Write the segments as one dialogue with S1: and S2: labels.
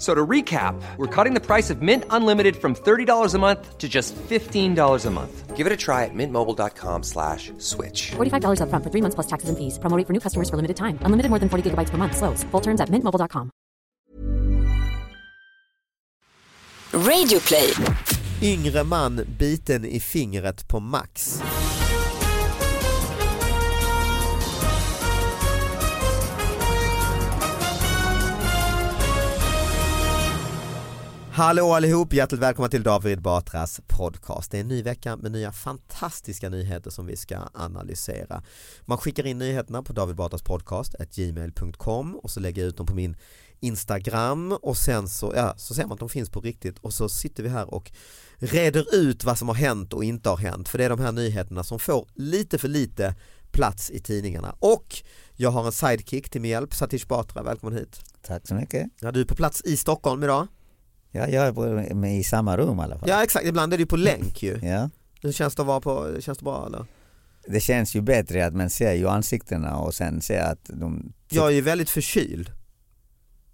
S1: So to recap, we're cutting the price of Mint Unlimited from $30 a month to just $15 a month.
S2: Give it a try at mintmobile.com slash switch.
S3: $45 upfront for three months plus taxes and fees. Promo rate for new customers for limited time. Unlimited more than 40 gigabytes per month. Slows. Full terms at mintmobile.com.
S4: Radioplay.
S5: Yngre man biten i fingret på Max. Hallå allihop, hjärtligt välkomna till David Batras podcast. Det är en ny vecka med nya fantastiska nyheter som vi ska analysera. Man skickar in nyheterna på davidbatraspodcast.gmail.com och så lägger jag ut dem på min Instagram och sen så, ja, så ser man att de finns på riktigt och så sitter vi här och reder ut vad som har hänt och inte har hänt. För det är de här nyheterna som får lite för lite plats i tidningarna. Och jag har en sidekick till min hjälp, Satish Batra, välkommen hit.
S6: Tack så mycket.
S5: Ja, du är på plats i Stockholm idag.
S6: Ja, jag är med i samma rum i alla fall.
S5: Ja exakt, ibland är det ju på länk ju.
S6: Mm. Ja.
S5: Hur känns det att vara på, känns det bra eller?
S6: Det känns ju bättre att man ser ju ansiktena och sen ser att de,
S5: Jag är ju väldigt förkyld.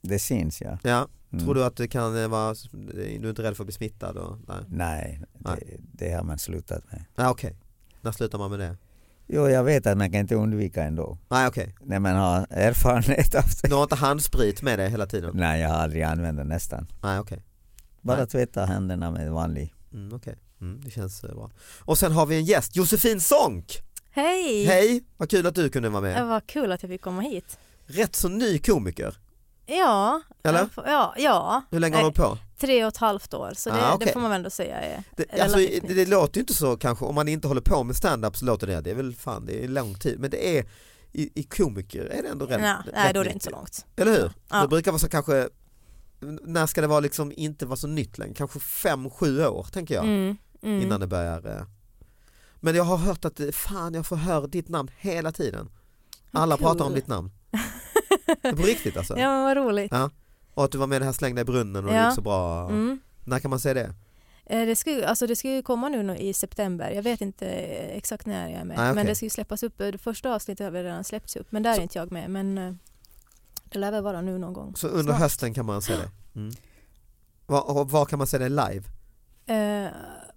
S6: det syns. Ja.
S5: Ja.
S6: Mm.
S5: Tror du att det kan eh, vara, du är inte rädd för att bli smittad? Och, nej,
S6: Nej,
S5: Nej.
S6: det, det har man slutat med.
S5: nej okej. När slutar man med det?
S6: Jo, jag vet att man kan inte undvika ändå.
S5: Nej okej.
S6: När man har erfarenhet av det.
S5: Du har inte handsprit med dig hela tiden?
S6: Nej, jag har aldrig använt det nästan.
S5: Nej okej.
S6: Bara
S5: Nej.
S6: tvätta händerna med vanlig.
S5: Mm, okej. Mm, det känns eh, bra. Och sen har vi en gäst, Josefin Sonck!
S7: Hej!
S5: Hej, vad kul att du kunde vara
S7: Ja,
S5: med.
S7: Vad kul att jag fick komma hit.
S5: Rätt så ny komiker,
S7: Ja, äh,
S5: eller?
S7: ja, ja.
S5: Hur länge har du
S7: Nej,
S5: hållit på?
S7: Tre och ett halvt år, så det,
S5: Ah, okej.
S7: det får man väl ändå säga är
S5: Det, alltså,
S7: relativt
S5: det,
S7: nytt.
S5: det låter ju inte så kanske, om man inte håller på med stand-up så låter det, det är väl fan, det är lång tid, men det är i, i komiker är det ändå rätt
S7: Nej, nej,
S5: rätt
S7: då är det
S5: nytt.
S7: inte så långt.
S5: Eller hur?
S7: Ja.
S5: Det brukar vara så kanske, när ska det vara liksom inte vara så nytt längre, kanske fem sju år tänker jag
S7: Mm, mm.
S5: innan det börjar. eh. Men jag har hört att eh, fan jag får höra ditt namn hela tiden. Alla
S7: kul.
S5: pratar om ditt namn. Det är På riktigt alltså.
S7: Ja men vad roligt.
S5: Och att du var med i det här slängda i brunnen och det
S7: Ja.
S5: gick så bra.
S7: Mm.
S5: När kan man säga det?
S7: Eh, Det ska, ju, alltså det ska ju komma nu nå- i september, jag vet inte eh, exakt när jag är med.
S5: Ah, okej.
S7: Men det ska ju släppas upp, Eh, det första avsnittet har väl redan släppts upp, men där
S5: Så-
S7: är inte jag med. Men eh, det lär väl vara nu någon gång.
S5: Så under
S7: Snart.
S5: hösten kan man säga det. Mm. Var, och var kan man säga det live?
S7: Eh,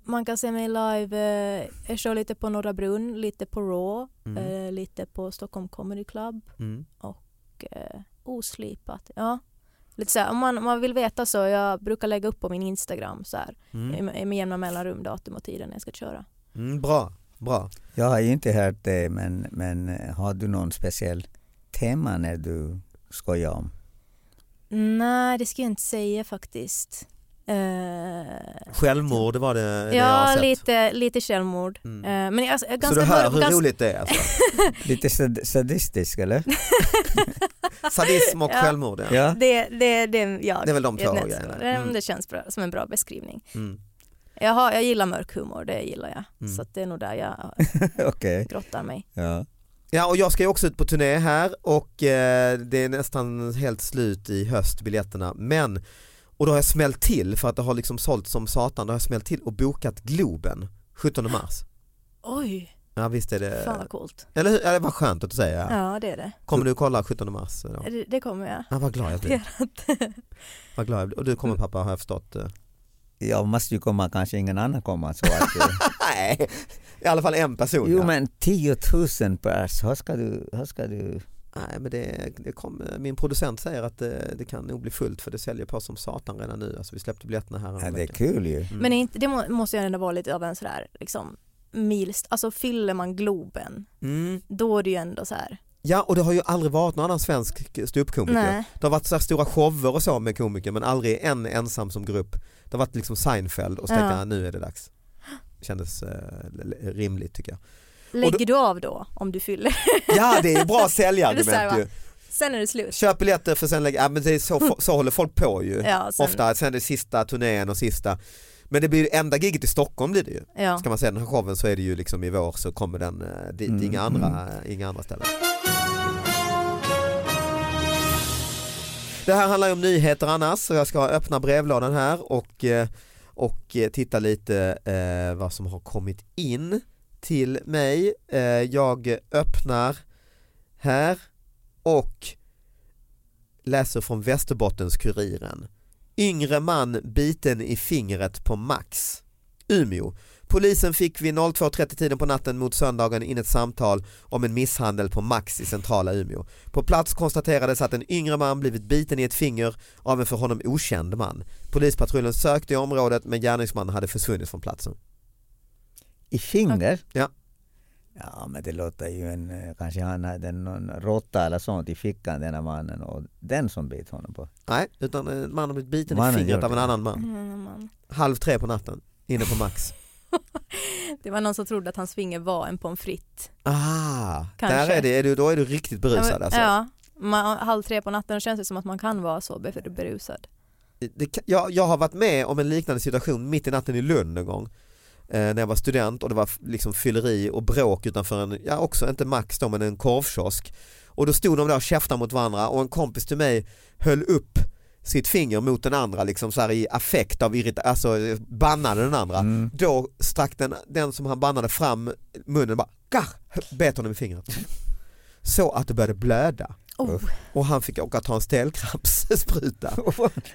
S7: man kan se mig live, eh, jag kör lite på Norra Brunn, lite på Raw,
S5: Mm.
S7: eh, lite på Stockholm Comedy Club.
S5: Mm.
S7: och eh, oslipat. Ja. Lite så här, om, man, om man vill veta så, jag brukar lägga upp på min Instagram så här,
S5: Mm.
S7: med, med jämna mellanrum, datum och tiden när jag ska köra.
S5: Mm, bra, bra.
S6: Jag har ju inte hört det, men, men eh, har du någon speciell tema när du skojar om?
S7: Nej, det ska jag inte säga faktiskt. Eh,
S5: Självmord var det, det jag har
S7: ja,
S5: sett.
S7: lite, lite självmord.
S5: Mm.
S7: Eh, men jag, alltså, jag är
S5: Så
S7: ganska
S5: du hör
S7: bör-
S5: hur
S7: ganska-
S5: roligt det är alltså.
S6: Lite sad- sadistisk eller?
S5: Sadism och
S7: Ja.
S5: självmord ja.
S6: Ja.
S7: Det, det, det, är jag.
S5: Det är väl de två
S7: Jag vet inte,
S5: grejerna.
S7: det-
S5: Mm.
S7: Det känns bra, som en bra beskrivning.
S5: Mm.
S7: Jag, har, jag gillar mörk humor, det gillar jag.
S5: Mm.
S7: Så att det är nog där jag
S6: Okej.
S7: grottar mig.
S6: Ja.
S5: Ja och jag ska ju också ut på turné här och eh, det är nästan helt slut i höst biljetterna men och då har jag smällt till för att det har liksom sålt som satan, då har jag smällt till och bokat Globen 17 mars.
S7: Oj,
S5: Ja visst är det.
S7: Fan vad coolt.
S5: Eller hur? Ja, det var skönt att du säger. Eh, Ja.
S7: Ja det är det.
S5: Kommer du kolla 17 mars? Då?
S7: Det, det kommer jag.
S5: Ja, vad glad jag blir. Vad glad jag blir. Och du
S7: Mm.
S5: kommer pappa har jag förstått. eh.
S6: Jag måste ju komma, kanske ingen annan kommer. Så att, eh,
S5: Nej, i alla fall en person.
S6: jo
S5: ja.
S6: men 10 000 pers, hur ska du, hur ska du
S5: Nej, men det, det kom, eh, min producent säger att eh, det, det kan nog bli fullt för det säljer på som satan redan nu. Alltså, vi släppte biljetterna här
S6: ja, det är
S5: häromveckan.
S6: kul ju.
S5: Mm.
S7: Men är inte, det må, måste ju ändå vara lite av en sådär liksom milst, alltså fyller man Globen
S5: Mm.
S7: då är det ju ändå så här.
S5: Ja, och det har ju aldrig varit någon annan svensk ståuppkomiker.
S7: Nej.
S5: Det har varit så här stora shower och så med komiker men aldrig en ensam som grupp. Det har varit liksom Seinfeld och så
S7: Ja.
S5: tänkte jag, nu är det dags. Kändes eh, l- l- rimligt tycker jag.
S7: Lägger du av då om du fyller?
S5: Ja, det är ju bra
S7: Det är så
S5: säljargument
S7: här,
S5: ju.
S7: va? Sen är det slut.
S5: Köp biljetter för sen lägga, ja, men det är så, så håller folk på ju.
S7: Mm. Ja, sen-
S5: Ofta, sen det sista turnén och sista. Men det blir ju enda giget i Stockholm blir det ju.
S7: Ja.
S5: Ska man säga den här showen så är det ju liksom i vår så kommer den eh, dit, inga, andra, inga andra ställen. Det här handlar ju om nyheter annars så jag ska öppna brevlådan här och, eh, och eh, titta lite eh, vad som har kommit in till mig. Eh, jag öppnar här och läser från Västerbottens-Kuriren. Yngre man biten i fingret på Max. Umeå. Polisen fick vid 02.30-tiden på natten mot söndagen in ett samtal om en misshandel på Max i centrala Umeå. På plats konstaterades att en yngre man blivit biten i ett finger av en för honom okänd man. Polispatrullen sökte i området men gärningsmannen hade försvunnit från platsen.
S6: I finger?
S5: Ja.
S6: Ja men det låter ju en, eh, kanske han hade någon råtta eller sånt i fickan den här mannen och den som bet honom på.
S5: Nej, utan en man har blivit biten
S6: Mannen
S5: i
S6: gör
S5: fingret
S6: det.
S5: av en annan man.
S7: Mm, man.
S5: Halv tre på natten, inne på Max.
S7: Det var någon som trodde att hans finger var en pommes frites.
S5: Ah, där
S7: Kanske.
S5: är det, är du, då är du riktigt berusad alltså.
S7: Ja, man, halv tre på natten känns det som att man kan vara så be- berusad.
S5: det, kan- jag, jag har varit med om en liknande situation mitt i natten i Lund en gång eh, när jag var student och det var f- liksom fylleri och bråk utanför en, ja också inte Max då men en korvkiosk och då stod de där och käftade mot varandra och en kompis till mig höll upp sitt finger mot den andra liksom så här i affekt av irritation, alltså eh, bannade den andra.
S6: Mm.
S5: Då stack den, den som han bannade fram munnen och bara gah, bet honom i fingret. Så att det började blöda
S7: Oh.
S5: och han fick åka och ta en stelkrampsspruta.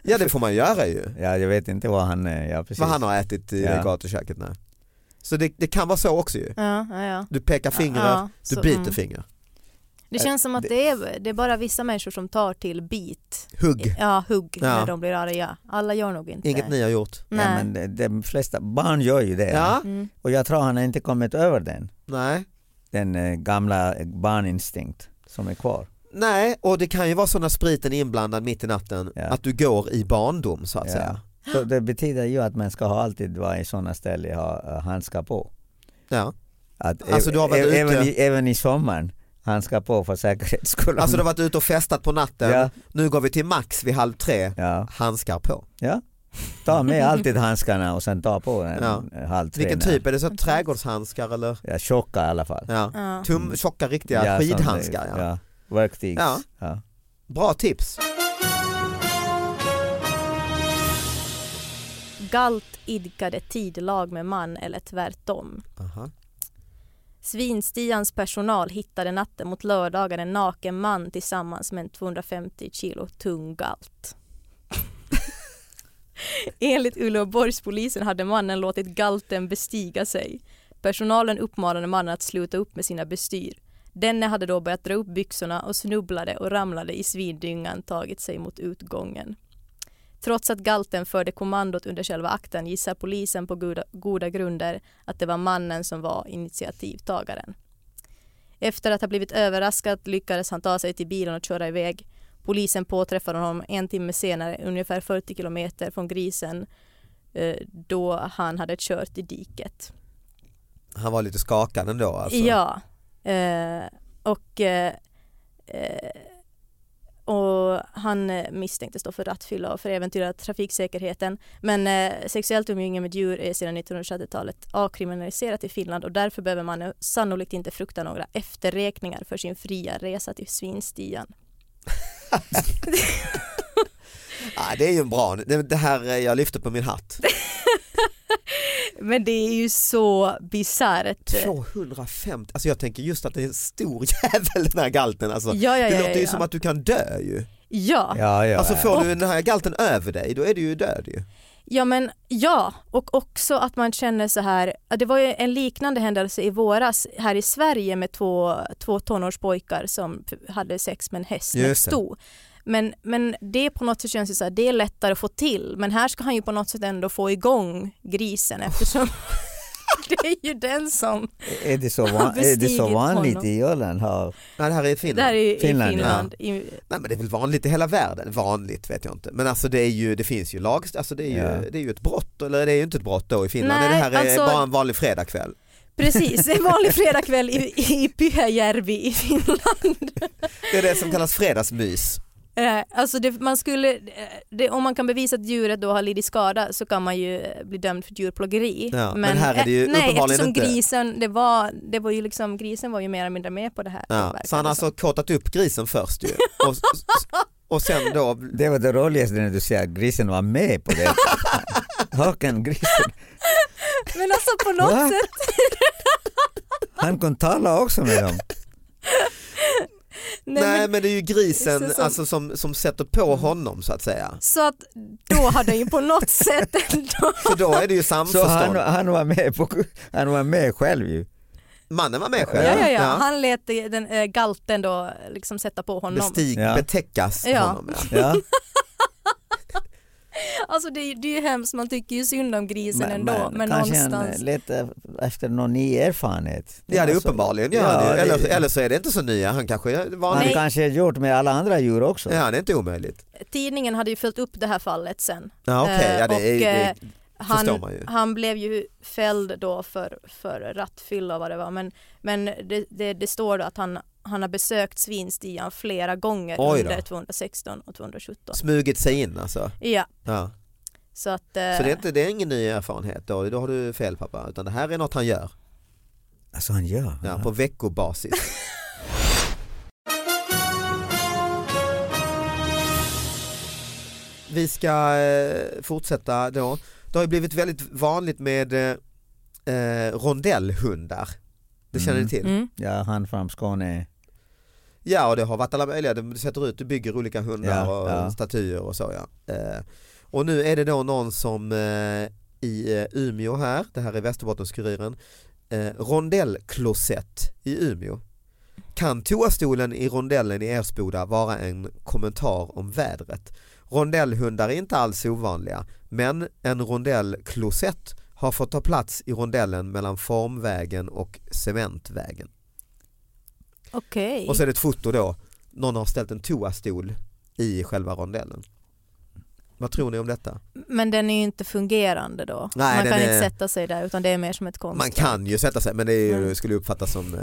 S5: ja det får man göra ju
S6: Ja jag vet inte vad han, eh, ja precis.
S5: vad han har ätit i
S6: Ja.
S5: gatuköket. Nej. Så det, det kan vara så också ju.
S7: Ja, ja, ja.
S5: Du pekar fingrar,
S7: Ja,
S5: du
S7: så-
S5: biter
S7: mm.
S5: fingrar.
S7: Det känns som att det är, det är bara vissa människor som tar till bit,
S5: Hugg,
S7: ja hugg,
S5: Ja.
S7: när de blir arga. Alla gör nog inte
S5: inget
S7: det.
S5: ni har gjort.
S6: Ja,
S7: Nej.
S6: men de, de flesta barn gör ju det.
S5: Ja,
S7: Mm.
S6: Och jag tror han har inte kommit över den,
S5: nej.
S6: den eh, gamla barninstinkt som är kvar.
S5: Nej, och det kan ju vara så när spriten är inblandad mitt i natten
S6: Ja.
S5: att du går i barndom så att
S6: Ja.
S5: säga.
S6: Så det betyder ju att man ska ha alltid vara i sådana ställen och ha eh, handskar på.
S5: Ja.
S6: Att
S5: Alltså, du har varit ute-
S6: även, i, även i sommaren, handskar på för säkerhets skull.
S5: Alltså du har varit ute och festat på natten,
S6: Ja.
S5: nu går vi till Max vid halv tre,
S6: ja.
S5: handskar på.
S6: Ja. Ta med alltid handskarna och sen ta på en
S5: Ja.
S6: ja. halv tre.
S5: Vilken
S6: när-
S5: typ? Är det så här trädgårdshandskar eller?
S6: Ja, tjocka i alla fall.
S5: Ja.
S7: Ja.
S5: Tum, tjocka riktiga
S6: Ja,
S5: skidhandskar.
S6: sån
S5: Ja.
S6: där- ja. Verktygs.
S5: Ja.
S6: Ja.
S5: Bra tips.
S7: Galt idkade tidlag med man eller tvärtom.
S5: Aha.
S7: Svinstians personal hittade natten mot lördagen en naken man tillsammans med en 250 kilo tung galt. Enligt Uleåborgspolisen hade mannen låtit galten bestiga sig. Personalen uppmanade mannen att sluta upp med sina bestyr. Denne hade då börjat dra upp byxorna och snubblade och ramlade i svindyngan tagit sig mot utgången. Trots att galten förde kommandot under själva akten gissar polisen på goda, goda grunder att det var mannen som var initiativtagaren. Efter att ha blivit överraskad lyckades han ta sig till bilen och köra iväg. Polisen påträffade honom en timme senare, ungefär 40 kilometer från grisen, eh, då han hade kört i diket.
S5: Han var lite skakad ändå alltså.
S7: Ja. Eh, och, eh, eh, och han eh, misstänktes då för rattfylla och för att äventyra trafiksäkerheten. Men eh, sexuellt umgänge med djur är sedan 1970-talet avkriminaliserat i Finland och därför behöver man nu sannolikt inte frukta några efterräkningar för sin fria resa till svinstian.
S5: Ja, det är ju en bra, det det här eh, jag lyfter på min hatt.
S7: Men det är ju så bisarrt.
S5: 250, alltså jag tänker just att det är en stor jävel den här galten alltså.
S7: Ja, ja,
S5: det
S7: ja,
S5: låter ju
S7: ja.
S5: som att du kan dö ju.
S7: Ja.
S6: Ja, ja,
S5: Alltså
S6: ja.
S5: får du den här galten över dig då är du ju död ju.
S7: Ja men ja, och också att man känner så här, ja, det var ju en liknande händelse i våras här i Sverige med två, två tonårspojkar som f- hade sex med en häst, med ett
S5: Just det.
S7: sto. Men, men det på något sätt känns det så här, det är lättare att få till, men här ska han ju på något sätt ändå få igång grisen eftersom det är ju den som,
S6: Är det så,
S7: har
S6: van, är det så
S7: bestigit
S6: vanligt
S7: honom.
S6: i Irland? Har,
S5: Nej det här är Finland.
S7: det här är ju
S6: Finland,
S7: i
S6: ja.
S7: Finland. I,
S5: Nej men det är väl vanligt i hela världen, vanligt vet jag inte. Men alltså det, är ju, det finns ju lag, alltså det är ju,
S6: Ja.
S5: det är ju ett brott, eller det är ju inte ett brott då i Finland,
S7: Nej,
S5: det här är
S7: alltså-
S5: bara en vanlig fredagkväll.
S7: precis, en vanlig fredagkväll i, i Pyhäjärvi i Finland.
S5: Det är det som kallas fredagsmys.
S7: Eh, Alltså det, man skulle, eh, det, om man kan bevisa att djuret då har lidit skada så kan man ju eh, bli dömd för djurplågeri.
S5: Ja, men här är det ju
S7: eh, nej,
S5: uppenbarligen
S7: eftersom
S5: inte.
S7: grisen, det var, det var ju liksom, grisen var ju mer eller mindre med på det här.
S5: Ja.
S7: verkar
S5: Så han
S7: det
S5: har alltså
S7: som.
S5: kåtat upp grisen först ju. Och, och sen då,
S6: det var det roligaste när du säger att grisen var med på det. Hakan grisen,
S7: Men alltså på något
S6: Va?
S7: sätt,
S6: han kunde tala också med dem.
S7: nej,
S5: nej,
S7: men,
S5: men det är ju grisen
S7: Så Mm. som-
S5: Alltså, som, som sätter på honom så att säga.
S7: så att då har den ju på något sätt ändå,
S5: För då är det ju
S6: Så han,
S5: samförstånd.
S6: han, var med på, han var med själv ju.
S5: Mannen var med
S7: ja,
S5: själv.
S7: ja, ja. han lät den, eh, galten då liksom sätta på honom.
S5: Bestig,
S6: Ja.
S5: betäckas
S7: Ja.
S5: honom. Ja.
S6: Ja.
S7: Alltså det, är- det är ju hemskt, man tycker ju synd om grisen ändå, men,
S6: kanske
S5: eh,
S7: någonstans.
S6: han letar efter någon ny erfarenhet.
S5: Ja det är
S6: Alltså,
S5: uppenbarligen gör han
S6: ja,
S5: ju.
S6: det-
S5: Eller, eller så är det inte så nya, han kanske är
S6: Han
S5: vanlig.
S6: kanske har gjort med alla andra djur också.
S5: Ja det är inte omöjligt.
S7: Tidningen hade ju följt upp det här fallet sen.
S5: Ja okej,
S7: Eh,
S5: ja, det är,
S7: och,
S5: det,
S7: eh,
S5: förstår
S7: han,
S5: man ju.
S7: han blev ju fälld då för, för rattfylla och vad det var men, men det, det, det står då att han, han har besökt svinstian flera gånger
S5: Oj då.
S7: under 216 och 217.
S5: smugit sig in alltså.
S7: Ja,
S5: Ja.
S7: så att eh,
S5: Så det är, inte, det är ingen ny erfarenhet då, då har du fel pappa. Utan det här är något han gör
S6: Alltså han gör.
S5: ja, på veckobasis. Vi ska eh, fortsätta då. Det har ju blivit väldigt vanligt med eh, eh, rondellhundar. Det känner ni till?
S7: mm.
S6: Ja, han från Skåne.
S5: Ja och det har varit alla möjliga, du sätter ut, du bygger olika hundar
S6: Ja,
S5: och
S6: ja.
S5: statyer och så ja. Eh, och nu är det då någon som eh, i eh, Umeå här, det här är Västerbottenskuriren, eh, rondellklosett i Umeå. Kan toastolen i rondellen i Ersboda vara en kommentar om vädret? Rondellhundar är inte alls ovanliga, men en rondellklosett har fått ta plats i rondellen mellan Formvägen och Cementvägen.
S7: okej.
S5: Och så är det ett foto då, någon har ställt en toastol i själva rondellen. Vad tror ni om detta?
S7: Men den är ju inte fungerande då.
S5: Nej,
S7: man
S5: den
S7: kan
S5: är-
S7: inte sätta sig där utan det är mer som ett konstverk.
S5: Man kan ju sätta sig men det är ju, skulle uppfattas som eh,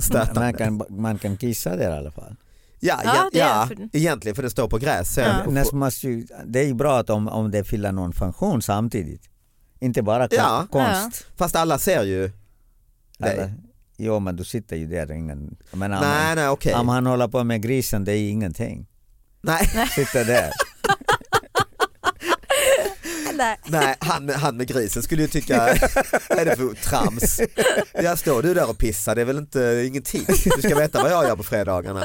S5: stötande.
S6: Man kan, man kan kissa där i alla fall.
S5: Ja,
S7: Ja,
S5: ja,
S7: det är
S5: ja,
S7: för-
S5: egentligen för det står på gräs. så-
S7: Ja.
S6: Näst måste ju, det är ju bra att om, om det fyller någon funktion samtidigt. Inte bara kon-
S5: Ja.
S6: konst.
S5: Fast alla ser ju dig.
S6: Alla, jo men du sitter ju där. Ingen, men
S5: Nej,
S6: om, han-
S5: nej okej.
S6: om han håller på med grisen det är ingenting.
S5: Nej,
S6: Sitter där.
S7: Nej.
S5: nej han, han med grisen skulle ju tycka, vad är det för trams? Ja, står du där och pissar, det är väl inte, ingenting. Du ska veta vad jag gör på fredagarna.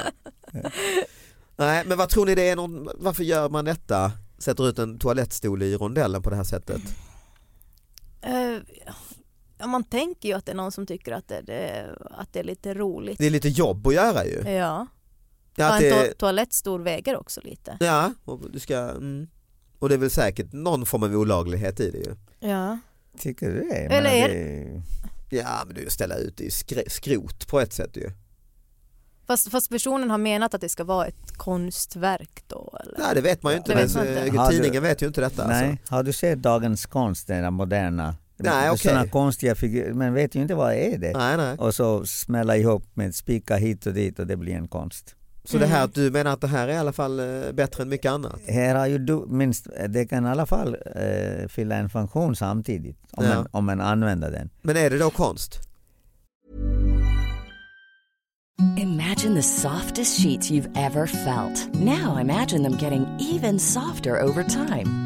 S5: Nej, men vad tror ni det är, någon, varför gör man detta? Sätter ut en toalettstol i rondellen på det här sättet?
S7: Eh, ja, man tänker ju att det är någon som tycker att det, det, att det är lite roligt.
S5: Det är lite jobb att göra ju.
S7: Ja,
S5: Ja, att
S7: och en to-
S5: det,
S7: toalettstol väger också lite.
S5: ja och du ska, mm. och det är väl säkert någon form av olaglighet i det ju.
S7: Ja.
S6: Tycker du det? Jag
S7: Eller
S6: menar,
S7: är
S6: det?
S5: Ja, men det är ju att ställa ut i skr- skrot på ett sätt ju.
S7: Fast, fast personen har menat att det ska vara ett konstverk då eller?
S5: Nej, det vet man ju inte.
S7: Det vet
S5: men,
S7: man inte.
S5: eh,
S6: Har du-
S5: Tidningen vet ju inte detta. Alltså.
S6: Nej, har du sett dagens konst, den här moderna?
S5: Nej, okej.
S6: Sådana konstiga figurer, men vet ju inte vad är det.
S5: Nej, nej.
S6: Och så smälla ihop med spika hit och dit och det blir en konst.
S5: Så det
S7: Mm.
S5: här att du menar att det här är i alla fall eh, bättre än mycket annat?
S6: Här har ju du, minst, det kan i alla fall eh, fylla en funktion samtidigt om,
S5: Ja.
S6: man, om man använder den.
S5: Men är det då konst?
S4: Imagine the softest sheets you've ever felt. Now imagine them getting even softer over time.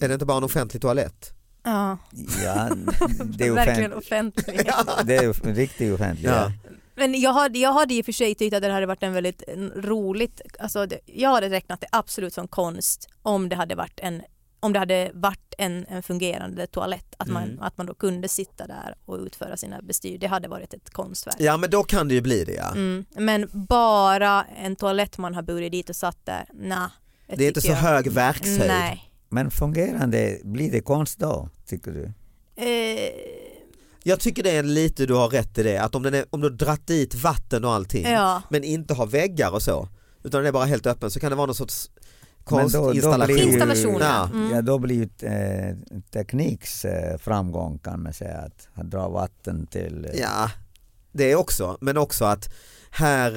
S5: Är det inte bara en offentlig toalett?
S7: Ja.
S6: Ja, det är
S7: Verkligen
S6: offentligt.
S7: offentlig.
S6: Det är off- riktigt offentligt.
S5: Ja.
S6: Ja.
S7: Men jag hade, jag hade i och för sig tyckt att det hade varit en väldigt en roligt, alltså det, jag hade räknat det absolut som konst om det hade varit en, om det hade varit en, en fungerande toalett, att man,
S5: Mm.
S7: att man då kunde sitta där och utföra sina bestyr, det hade varit ett konstverk.
S5: Ja men då kan det ju bli det ja.
S7: Mm. Men bara en toalett man har burit dit och satt där, nah,
S5: Det är inte
S7: tycker
S5: så
S7: jag-
S5: hög verkshöjd.
S7: Nej.
S6: Men fungerande, blir det konst då, tycker du?
S7: Eh,
S5: Jag tycker det är lite du har rätt i det, att om, den är, om du har dratt dit vatten och allting
S7: Ja.
S5: men inte har väggar och så, utan den är bara helt öppen så kan det vara någon sorts
S6: Men då- då
S5: konstinstallation.
S6: blir ju-
S7: Installation,
S5: ja.
S6: Ja, då blir ju eh, tekniks eh, framgång kan man säga att han drar vatten till... eh,
S5: Ja, det också, men också att här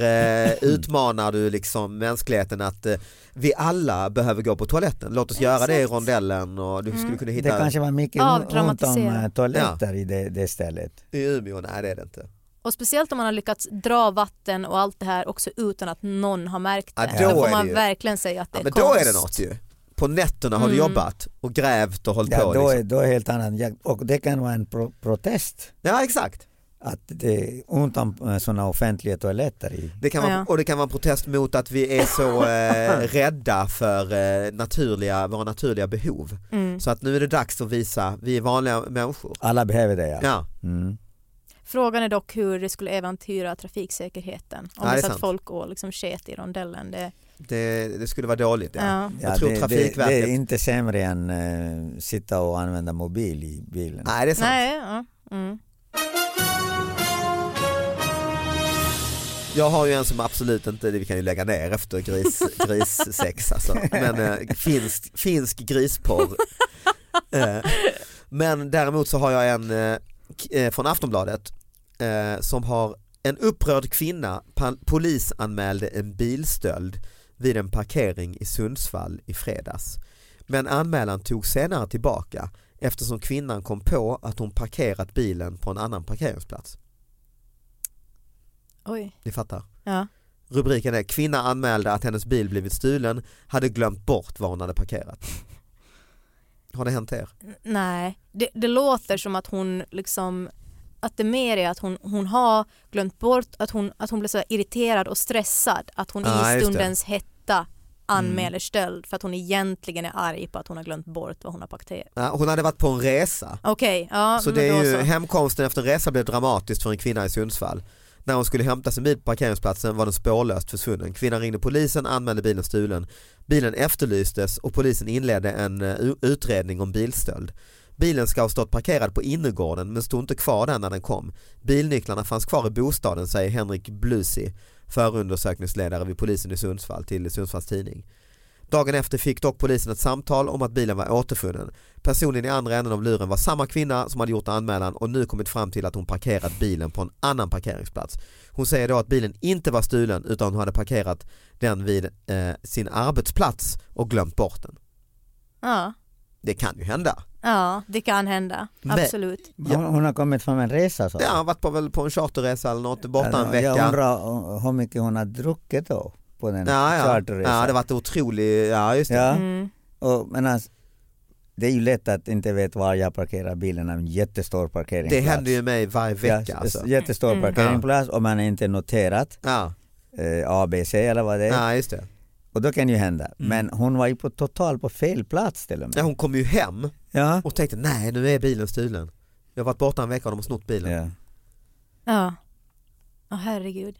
S5: eh, utmanar du liksom mänskligheten att eh, vi alla behöver gå på toaletten, låt oss göra det i
S7: Exakt. Mm.
S5: rondellen och du skulle kunna
S6: Det
S5: hitta
S6: kanske var mycket
S7: Ja,
S6: ont om
S7: dramatisera.
S6: eh, toaletter i det, det stället.
S5: i Umeå, nej det är det inte.
S7: och speciellt om man har lyckats dra vatten och allt det här också utan att någon har märkt
S5: Ja, då
S7: det. då
S5: är
S7: får
S5: det
S7: man
S5: ju-
S7: verkligen säga att
S5: Ja,
S7: det är
S5: men
S7: konst. Mm.
S5: då är det något ju. På nätterna har du jobbat och grävt och hållit
S6: Ja,
S5: på.
S6: då,
S5: Liksom.
S6: är, då är helt annat. Jag- Och det kan vara en pro- protest
S5: Ja exakt.
S6: att det är ont om sådana offentliga toaletter. I.
S5: Det kan vara,
S7: Ja.
S5: Och det kan vara en protest mot att vi är så eh, rädda för eh, naturliga, våra naturliga behov.
S7: Mm.
S5: Så att nu är det dags att visa, vi är vanliga människor.
S6: Alla behöver det ja.
S5: Ja,
S6: Mm.
S7: Frågan är dock hur det skulle äventyra trafiksäkerheten.
S5: Ja,
S7: Om
S5: det är
S7: det satt
S5: sant.
S7: folk och liksom sket i rondellen. Det,
S5: det, det skulle vara dåligt. Ja.
S7: ja.
S5: Jag tror
S6: det, det,
S5: Trafikverket-
S6: det är inte sämre än eh, sitta och använda mobil i bilen.
S5: Nej det är sant.
S7: Nej, ja. Mm.
S5: Jag har ju en som absolut inte, vi kan ju lägga ner efter gris, grissex alltså. Men eh, finsk, finsk grisporr. eh, men däremot så har jag en eh, k- eh, från Aftonbladet eh, som har en upprörd kvinna pa- polisanmälde en bilstöld vid en parkering i Sundsvall i fredags. Men anmälan tog senare tillbaka eftersom kvinnan kom på att hon parkerat bilen på en annan parkeringsplats.
S7: Oj.
S5: Ni fattar?
S7: Ja.
S5: Rubriken är Kvinna anmälde att hennes bil blivit stulen, hade glömt bort var hon hade parkerat. Har det hänt er?
S7: N- Nej, det, det låter som att hon liksom att det mer är att hon, hon har glömt bort att hon, att hon blir så här irriterad och stressad att hon
S5: Ah,
S7: i
S5: just det. Mm.
S7: stundens hetta anmäler stöld för att hon egentligen är arg på att hon har glömt bort vad hon har parkerat.
S5: Ja, Hon hade varit på en resa.
S7: Okej, ja
S5: Så
S7: men
S5: det är
S7: då
S5: ju,
S7: så.
S5: hemkomsten efter en resa blev dramatisk för en kvinna i Sundsvall. När hon skulle hämta sin bil på parkeringsplatsen var den spårlöst försvunnen. Kvinnan ringde polisen, anmälde bilen stulen. Bilen efterlystes och polisen inledde en eh, u- utredning om bilstöld. Bilen ska ha stått parkerad på innergården men stod inte kvar där när den kom. Bilnycklarna fanns kvar i bostaden säger Henrik Blusi, förundersökningsledare vid polisen i Sundsvall till Sundsvalls tidning. Dagen efter fick dock polisen ett samtal om att bilen var återfunnen. Personen i andra änden av luren var samma kvinna som hade gjort anmälan och nu kommit fram till att hon parkerat bilen på en annan parkeringsplats. Hon säger då att bilen inte var stulen utan hon hade parkerat den vid eh, sin arbetsplats och glömt bort den.
S7: ja,
S5: Det kan ju hända.
S7: ja, det kan hända.
S5: Men-
S7: Absolut.
S6: Hon, hon har kommit från en resa så.
S5: Ja, har varit på, väl på en charterresa eller något, borta en
S6: Jag
S5: vecka.
S6: undrar eh, hur mycket hon har druckit då på den
S5: Ja, ja.
S6: charterresan.
S5: ja det var otroligt, ja just det.
S6: Ja.
S7: Mm.
S6: Och, men alltså, det är ju lätt att inte veta var jag parkerar bilen, en jättestor parkeringsplats.
S5: Det händer ju mig varje
S6: Ja,
S5: vecka alltså.
S6: Jättestor
S7: Mm.
S6: parkeringsplats och man är inte noterat
S5: Ja,
S6: eh, ABC eller vad det är.
S5: ja just det.
S6: Och då kan ju hända.
S5: Mm.
S6: Men hon var ju på total på fel plats till och med.
S5: Ja, hon kom ju hem
S6: Ja.
S5: och tänkte nej nu är bilen stulen. Jag har varit borta en vecka och de har snott bilen.
S6: Ja.
S7: Ja. Ja, herregud.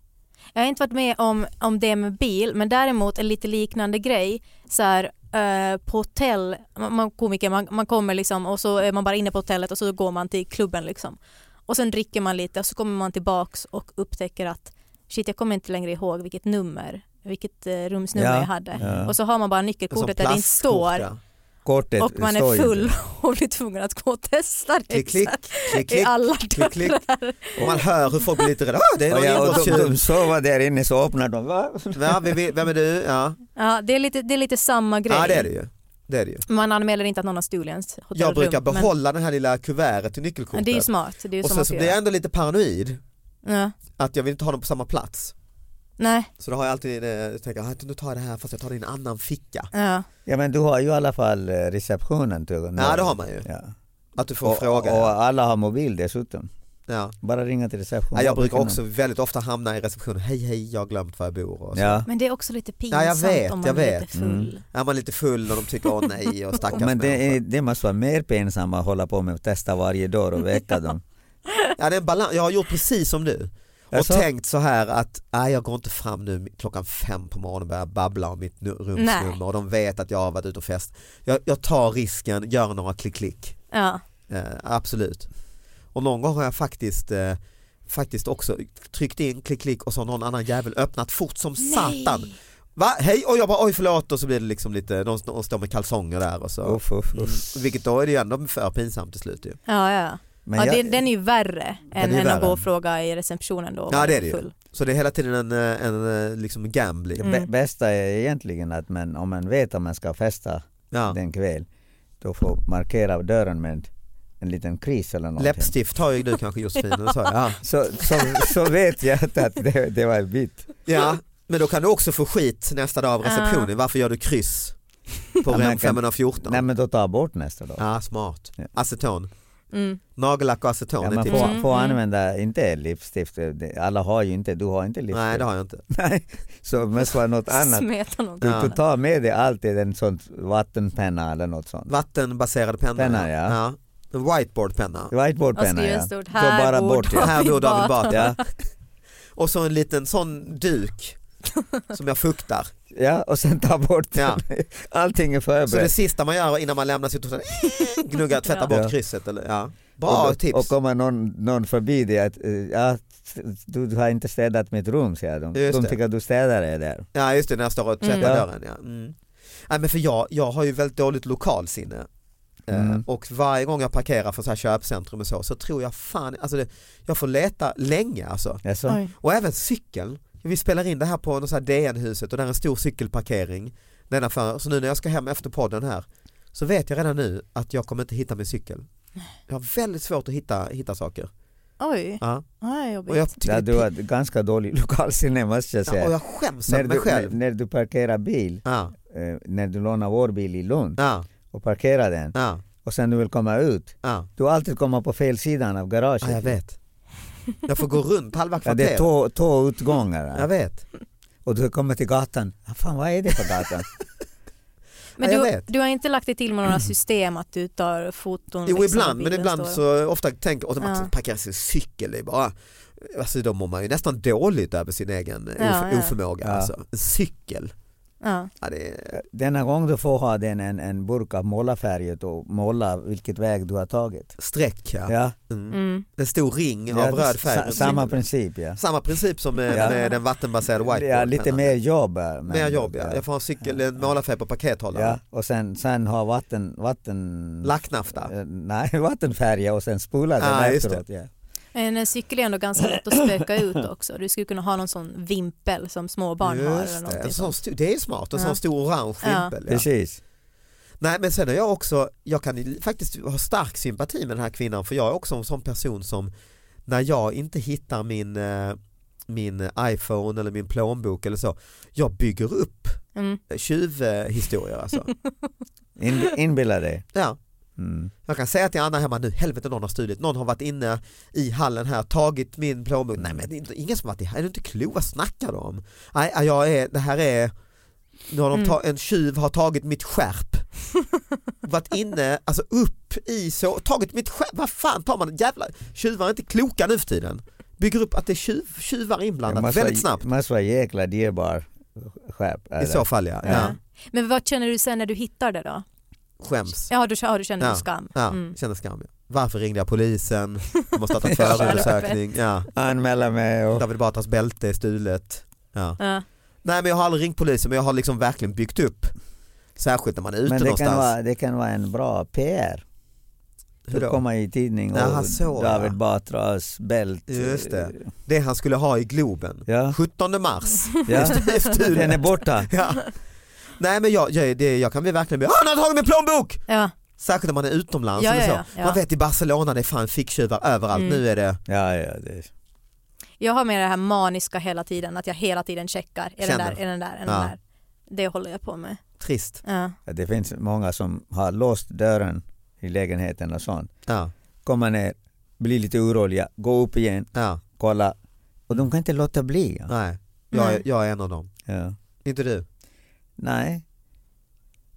S7: Jag har inte varit med om, om det med bil, men däremot en lite liknande grej. Så här, eh, på hotell, man, man, komiker, man, man kommer liksom och så är man bara inne på hotellet och så går man till klubben liksom. Och sen dricker man lite och så kommer man tillbaks och upptäcker att shit, jag kommer inte längre ihåg vilket nummer, vilket eh, rumsnummer
S6: Ja,
S7: jag hade.
S6: ja.
S7: Och så har man bara nyckelkortet där det inte står
S6: Kortet
S7: och man
S6: står
S7: är
S6: ju inte.
S7: full och blir tvungen att gå och testa det.
S5: Klick, klick,
S7: så här,
S5: klick,
S7: I
S5: klick,
S7: alla
S5: klick, klick.
S7: dörrar.
S5: Och man hör hur folk blir lite rädda. Ah, det är
S6: Och,
S5: någon
S6: jag, och de, de
S5: inbrottstjuv.
S6: sover där inne så öppnar de. Va?
S5: Ja, vem, är- vem är du? Ja.
S7: Ja, det är lite, det är lite samma grej.
S5: ja det är det ju. Det är det ju.
S7: Man anmäler inte att någon har stulit ens hotellrum.
S5: Jag brukar
S7: men-
S5: behålla den här lilla kuvertet till
S7: Men
S5: nyckelkortet.
S7: det är ju smart. Det är ju
S5: och
S7: så
S5: sen
S7: man
S5: så
S7: ska
S5: blir jag
S7: göra.
S5: ändå lite paranoid
S7: Ja.
S5: att jag vill inte ha dem på samma plats.
S7: Nej,
S5: Så då har jag alltid, eh, jag tänker, ah, nu tar jag det här fast jag tar det i en annan ficka.
S7: ja.
S6: Ja men du har ju i alla fall eh, receptionen. Till
S5: Ja det har man ju.
S6: Ja.
S5: Att du får
S6: Och,
S5: fråga.
S6: och alla har mobil dessutom.
S5: ja.
S6: Bara ringa till receptionen.
S5: Ja, jag brukar också väldigt ofta hamna i receptionen, hej hej jag har glömt var jag bor. Och så.
S6: Ja.
S7: Men det är också lite pinsamt
S5: Ja, jag vet,
S7: om man
S5: jag
S7: är
S5: vet. Mm.
S7: lite full.
S5: Är man lite full och de tycker åh nej och stackars
S6: Men det, är,
S5: människa.
S6: det måste vara mer pinsamt att hålla på med att testa varje dag och väcka dem.
S5: Ja, det är en balans. Jag har gjort precis som du. Och
S6: Jaså?
S5: tänkt så här att nej, jag går inte fram nu klockan fem på morgonen och börjar babbla om mitt nu- rumsnummer
S7: Nej.
S5: och de vet att jag har varit ute och fest. Jag, jag tar risken, gör några klick-klick.
S7: Ja.
S5: Eh, absolut. Och någon gång har jag faktiskt eh, faktiskt också tryckt in klick-klick och så har någon annan jävel öppnat fort som satan. Va? Hej! Och jag bara oj förlåt och så blir det liksom lite, de, de står med kalsonger där och så.
S6: Uff, uff, uff.
S5: Mm. Vilket då är det ju ändå för pinsamt till slut ju.
S7: Ja, ja.
S6: Men
S7: ja
S6: jag-
S7: det, den är ju värre
S5: är
S7: än,
S5: ju
S7: än att
S5: värre.
S7: gå och fråga i receptionen då. om
S5: Ja
S7: man
S5: det är det ju.
S7: full. Mm.
S5: Så det är hela tiden en, eh, en eh, liksom gambling.
S6: Det bä- bästa är egentligen att man, om man vet att man ska festa
S5: Ja.
S6: den kväll, då får markera dörren med en liten kris eller någonting.
S5: Läppstift har ju du kanske Josefin, eller så. Ja.
S6: Så, så, så vet jag att att det, det var en bit.
S5: ja, men då kan du också få skit nästa
S7: Ah.
S5: dag av receptionen. Varför gör du kryss på
S6: Ja, men
S5: rem
S6: kan-
S5: 514?
S6: Nej men då tar jag bort nästa dag.
S5: Ja, smart.
S6: Ja.
S5: Aceton.
S7: Mm.
S5: Nagellack och aceton.
S6: Ja,
S5: det är typ
S6: man
S5: tipset.
S6: får, får använda, inte läppstift, det- alla har ju inte, du har inte läppstift.
S5: Nej, det har jag inte.
S6: Nej, så det måste vara något annat.
S7: Smeta någon.
S6: Du får ta med dig alltid en sån vattenpenna eller något sånt.
S5: Vattenbaserad penna.
S6: Penna, ja.
S5: En whiteboardpenna.
S7: Och
S6: Whiteboardpenna
S7: skriva
S6: ja.
S7: stort,
S6: Så
S7: här
S6: bara
S7: bor
S6: bort ja.
S5: Här bor David
S7: Batra.
S5: Batra. Ja. Och så en liten sån duk som jag fuktar.
S6: ja. Och sen ta bort
S5: Ja.
S6: den. Allting är
S5: Så Alltså, det
S6: förberett.
S5: sista man gör innan man lämnar sitt hotell, eh, gnugga, tvätta
S7: Ja.
S5: bort
S6: Ja.
S5: krysset. Eller, ja.
S6: och,
S5: Bra
S6: då-
S5: tips.
S6: Och kommer någon, någon förbi dig att eh, ja, du, du har inte städat mitt rum säger de.
S5: Just
S6: De
S5: det.
S6: tycker att du städar det där.
S5: Ja just det, när jag står och tvättar
S6: Mm. Ja.
S5: dörren. Ja. Mm. Nej, men för jag, jag har ju väldigt dåligt lokalsinne. Eh,
S6: Mm.
S5: Och varje gång jag parkerar för så här köpcentrum och så, så tror jag fan, alltså det, jag får leta länge alltså.
S6: Jaså?
S7: Oj.
S5: Och även cykeln. Vi spelar in det här på något så här DN-huset och där är en stor cykelparkering. Nedanför. Så nu när jag ska hem efter podden här så vet jag redan nu att jag kommer inte hitta min cykel. Jag har väldigt svårt att hitta, hitta saker.
S7: Oj,
S5: Ja.
S7: ja, jobbigt.
S5: Och, jag tycker
S6: Ja,
S5: det
S6: du
S5: är
S6: har ganska dålig lokalsinne måste jag
S5: pin-
S6: säga.
S5: ja, och jag skäms
S6: när,
S5: över mig
S6: du, när,
S5: själv.
S6: när du parkerar bil,
S5: Ja,
S6: eh, när du lånar vår bil i Lund
S5: ja,
S6: och parkerar den
S5: ja,
S6: och sen du vill komma ut,
S5: ja.
S6: du alltid kommer på fel sidan av garaget.
S5: ja, jag vet. Jag får gå runt halva
S6: Ja, det är
S5: kvarteret.
S6: två, två utgångar.
S5: Jag vet.
S7: Mm,
S6: och du kommer till gatan, ah, fan vad är det på gatan?
S7: men
S5: ja, jag
S7: du,
S5: vet.
S7: du har inte lagt dig till med några system att du tar foton?
S5: Jo
S7: liksom,
S5: ibland,
S7: när
S5: men
S7: bilen
S5: ibland
S7: står?
S5: så ofta tänker och att
S7: Ja.
S5: man parkerar sin cykel, det är bara, alltså då mår man ju nästan dåligt över sin egen
S7: Ja,
S5: of-
S7: ja.
S5: oförmåga.
S6: Ja.
S5: Alltså. En cykel,
S7: Ja.
S5: ja, det är,
S6: Denna gång du får ha den, en, en burk av målarfärget och måla vilket väg du har tagit.
S5: streck ja.
S6: Ja,
S5: Mm.
S7: Mm.
S5: En stor ring
S6: ja,
S5: av röd färg.
S6: sa-
S5: runt
S6: samma
S5: cykeln.
S6: princip ja.
S5: samma princip som med,
S6: Ja.
S5: med den vattenbaserade whiteboard.
S6: ja lite mer jobb. eh, Men,
S5: mer jobb ja. Jag får ha en cykel, en målarfärg på pakethållare.
S6: Ja, och sen, sen ha vatten... vatten
S5: Lacknafta.
S6: Eh, Nej, vattenfärga och sen spola den
S5: Ah, just
S6: efteråt. Ja.
S7: En cykel är ändå ganska lätt att spöka ut också. Du skulle kunna ha någon sån vimpel som små barn har eller
S5: Just det.
S7: någonting
S5: En sån
S7: sånt.
S5: stor, det är smart, en
S7: Ja.
S5: sån stor orange
S7: Ja.
S5: vimpel. Ja.
S6: Precis.
S5: Nej men sen är jag också, jag kan ju faktiskt ha stark sympati med den här kvinnan för jag är också en sån person som när jag inte hittar min, eh, min iPhone eller min plånbok eller så, jag bygger upp
S7: Mm.
S5: tjuvhistorier alltså.
S6: In, inbilla dig.
S5: Ja.
S6: Mm.
S5: Jag kan säga till Anna hemma nu, helvete någon har stulit, någon har varit inne i hallen här, tagit min plånbok, nej men det är inte- ingen som har varit i hallen, är du inte klok, vad snackar du om? Nej, jag är, det här är nu har de
S8: Mm.
S5: ta- en tjuv har tagit mitt skärp. Varit inne, alltså upp i så, tagit mitt skärp, vad fan tar man, jävla tjuvar är inte kloka nu för tiden. Bygger upp att det är tjuv, tjuvar inblandat
S6: måste
S5: väldigt
S6: vara-
S5: snabbt.
S6: måste vara jäkla dyrbar skärp. eller?
S5: så fall, ja. Ja.
S7: Men vad känner du sen när du hittar det då?
S5: Skäms.
S7: Ja, du, ja, du känner du skam?
S5: Ja,
S7: Mm.
S5: känner skam. Ja. Varför ringde jag polisen? De har startat
S6: Ja.
S5: förundersökning. Ja.
S6: Anmäla mig. Och...
S5: David Batras bälte är stulet. Ja.
S7: Ja.
S5: Nej men jag har aldrig ringt polisen men jag har liksom verkligen byggt upp. Särskilt när man är ute
S6: Men det
S5: någonstans.
S6: kan, vara, det kan vara en bra PR.
S5: Hur då?
S6: Du kommer i tidning och
S5: Jaha, så,
S6: David
S5: ja.
S6: Batras bälte.
S5: Just det. Det han skulle ha i Globen. 17 mars.
S6: Ja.
S5: Just det, stulet.
S6: Den är borta.
S5: Ja. Nej men jag, jag, det, jag kan bli verkligen bli, han har tagit min plånbok!
S7: Ja.
S5: Särskilt när man är utomlands.
S7: Ja,
S5: eller så.
S7: ja, ja, ja.
S5: Man vet i Barcelona det är fan ficktjuvar överallt.
S7: Mm.
S5: Nu är det...
S6: Ja, ja, det...
S7: Jag har med det här maniska hela tiden, att jag hela tiden checkar. Är den
S6: Känner.
S7: där, är den där, är den
S6: Ja.
S7: där? Det håller jag på med.
S5: Trist.
S7: Ja.
S6: Ja, Det finns många som har låst dörren i lägenheten och sånt.
S5: Ja.
S6: Kommer ner, blir lite oroliga, gå upp igen, kolla. Och de kan inte låta bli.
S5: Nej, jag, är- jag är en av dem.
S6: Ja.
S5: Inte du?
S6: Nej.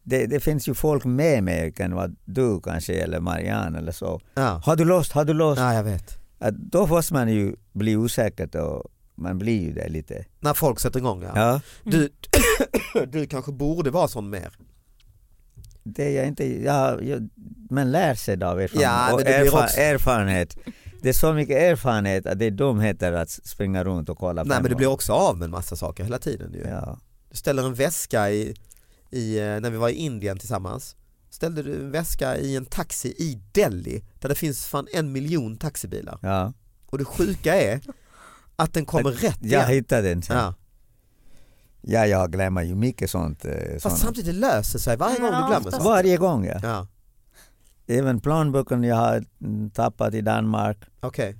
S6: Det, det finns ju folk med mig, det kan vara du kanske eller Marianne eller så. Har du låst? Har du låst?
S5: Ja, jag vet.
S6: Att då måste man ju bli osäker och man blir ju det lite.
S5: När folk sätter igång ja.
S6: Ja.
S5: Du, du kanske borde vara sån mer.
S6: Det är jag inte, jag, jag, man lär sig då av erfarenhet.
S5: Ja, men
S6: och
S5: det blir
S6: erfa-
S5: också-
S6: erfarenhet. Det är så mycket erfarenhet att det är dumheter att springa runt och kolla
S5: Nej men du blir också av med en massa saker hela tiden ju. Du ställer en väska i, i, eh, när vi var i Indien tillsammans, ställde du en väska i en taxi i Delhi där det finns fan en miljon taxibilar.
S6: Ja.
S5: Och det sjuka är att den kommer rätt
S6: Jag
S5: igen.
S6: hittade den sen.
S5: Ja.
S6: ja, jag glömmer ju mycket sånt. eh, såna-
S5: Fast samtidigt löser sig varje gång du glömmer sånt.
S6: Varje gång ja.
S5: Ja.
S6: Även planboken jag har mm, tappat i Danmark.
S5: Okej.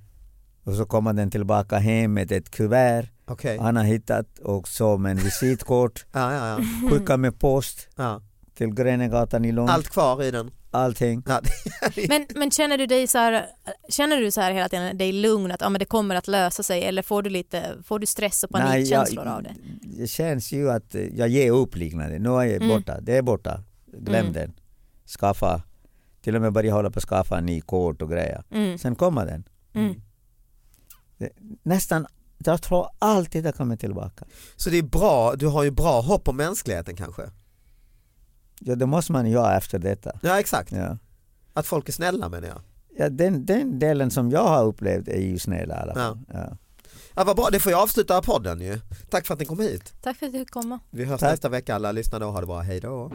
S6: Och så kommer den tillbaka hem med ett kuvert.
S5: Okej.
S6: Han har hittat och så med en visitkort.
S5: Ja, ja, ja.
S6: Skicka med post
S5: Ja.
S6: till Gränegatan i Lund.
S5: Allt kvar i den.
S6: Allting.
S7: Men, men känner du dig så här, känner du så här hela tiden dig lugn att ja, men det kommer att lösa sig eller får du lite, får du stress och panikkänslor av det?
S6: Det känns ju att eh, jag ger upp liknande. Nu är jag
S7: Mm.
S6: borta. Det är borta. Glöm
S7: Mm.
S6: den. Skaffa. Till och med börja hålla på att skaffa en ny kort och grejer.
S7: Mm.
S6: Sen kommer den.
S7: Mm.
S6: Det- Nästan, jag tror alltid det kommer tillbaka.
S5: Så det är bra, du har ju bra hopp om mänskligheten kanske?
S6: Ja, det måste man göra efter detta.
S5: Ja exakt.
S6: Ja.
S5: Att folk är snälla menar jag.
S6: Ja, den, den delen som jag har upplevt är ju snäll i alla fall. Ja.
S5: Ja, vad bra, det får jag avsluta podden ju. Tack för att ni kom hit.
S7: Tack för att du fick komma.
S5: Vi hörs nästa vecka alla, lyssna då, ha det bra, hej då.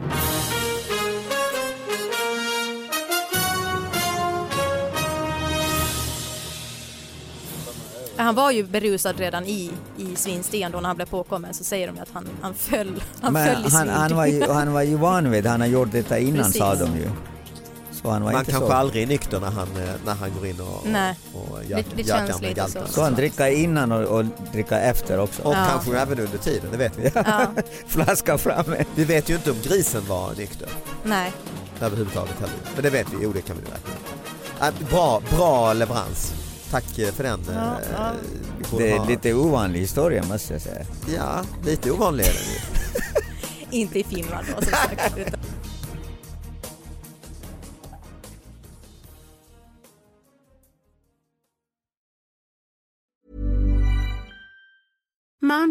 S7: Ja, Han var ju berusad redan i, i Svinsten då när han blev påkommen så säger de ju att han, han föll, han
S6: Men
S7: föll i
S6: han,
S7: svin.
S6: han, var ju, han var ju van vid han har gjort detta innan
S7: Precis.
S6: sa de ju. Så han var
S5: Man
S6: inte
S5: kanske
S6: så.
S5: aldrig är nykter när han, eh, när han går in och,
S7: Nej.
S5: och
S7: Det-
S5: gör-
S7: det
S5: gör
S7: känns
S5: gamla
S7: lite
S5: galtan.
S6: Så han dricker innan och, och dricker efter också.
S5: Och kanske även under tiden, det vet vi
S7: Ja.
S6: Flaska framme.
S5: Vi vet ju inte om grisen var nykter
S7: Nej.
S5: överhuvudtaget heller. Men det vet vi, jo det kan vi räkna med. Äh, Bra, bra leverans. Tack eh, för den. eh,
S6: Ja, ja.
S5: vi borde
S6: Det
S5: ha-
S6: är lite ovanlig historia måste jag säga.
S5: Ja, lite ovanlig är den ju.
S7: Inte i Finland då som sagt. Utan...
S9: Mom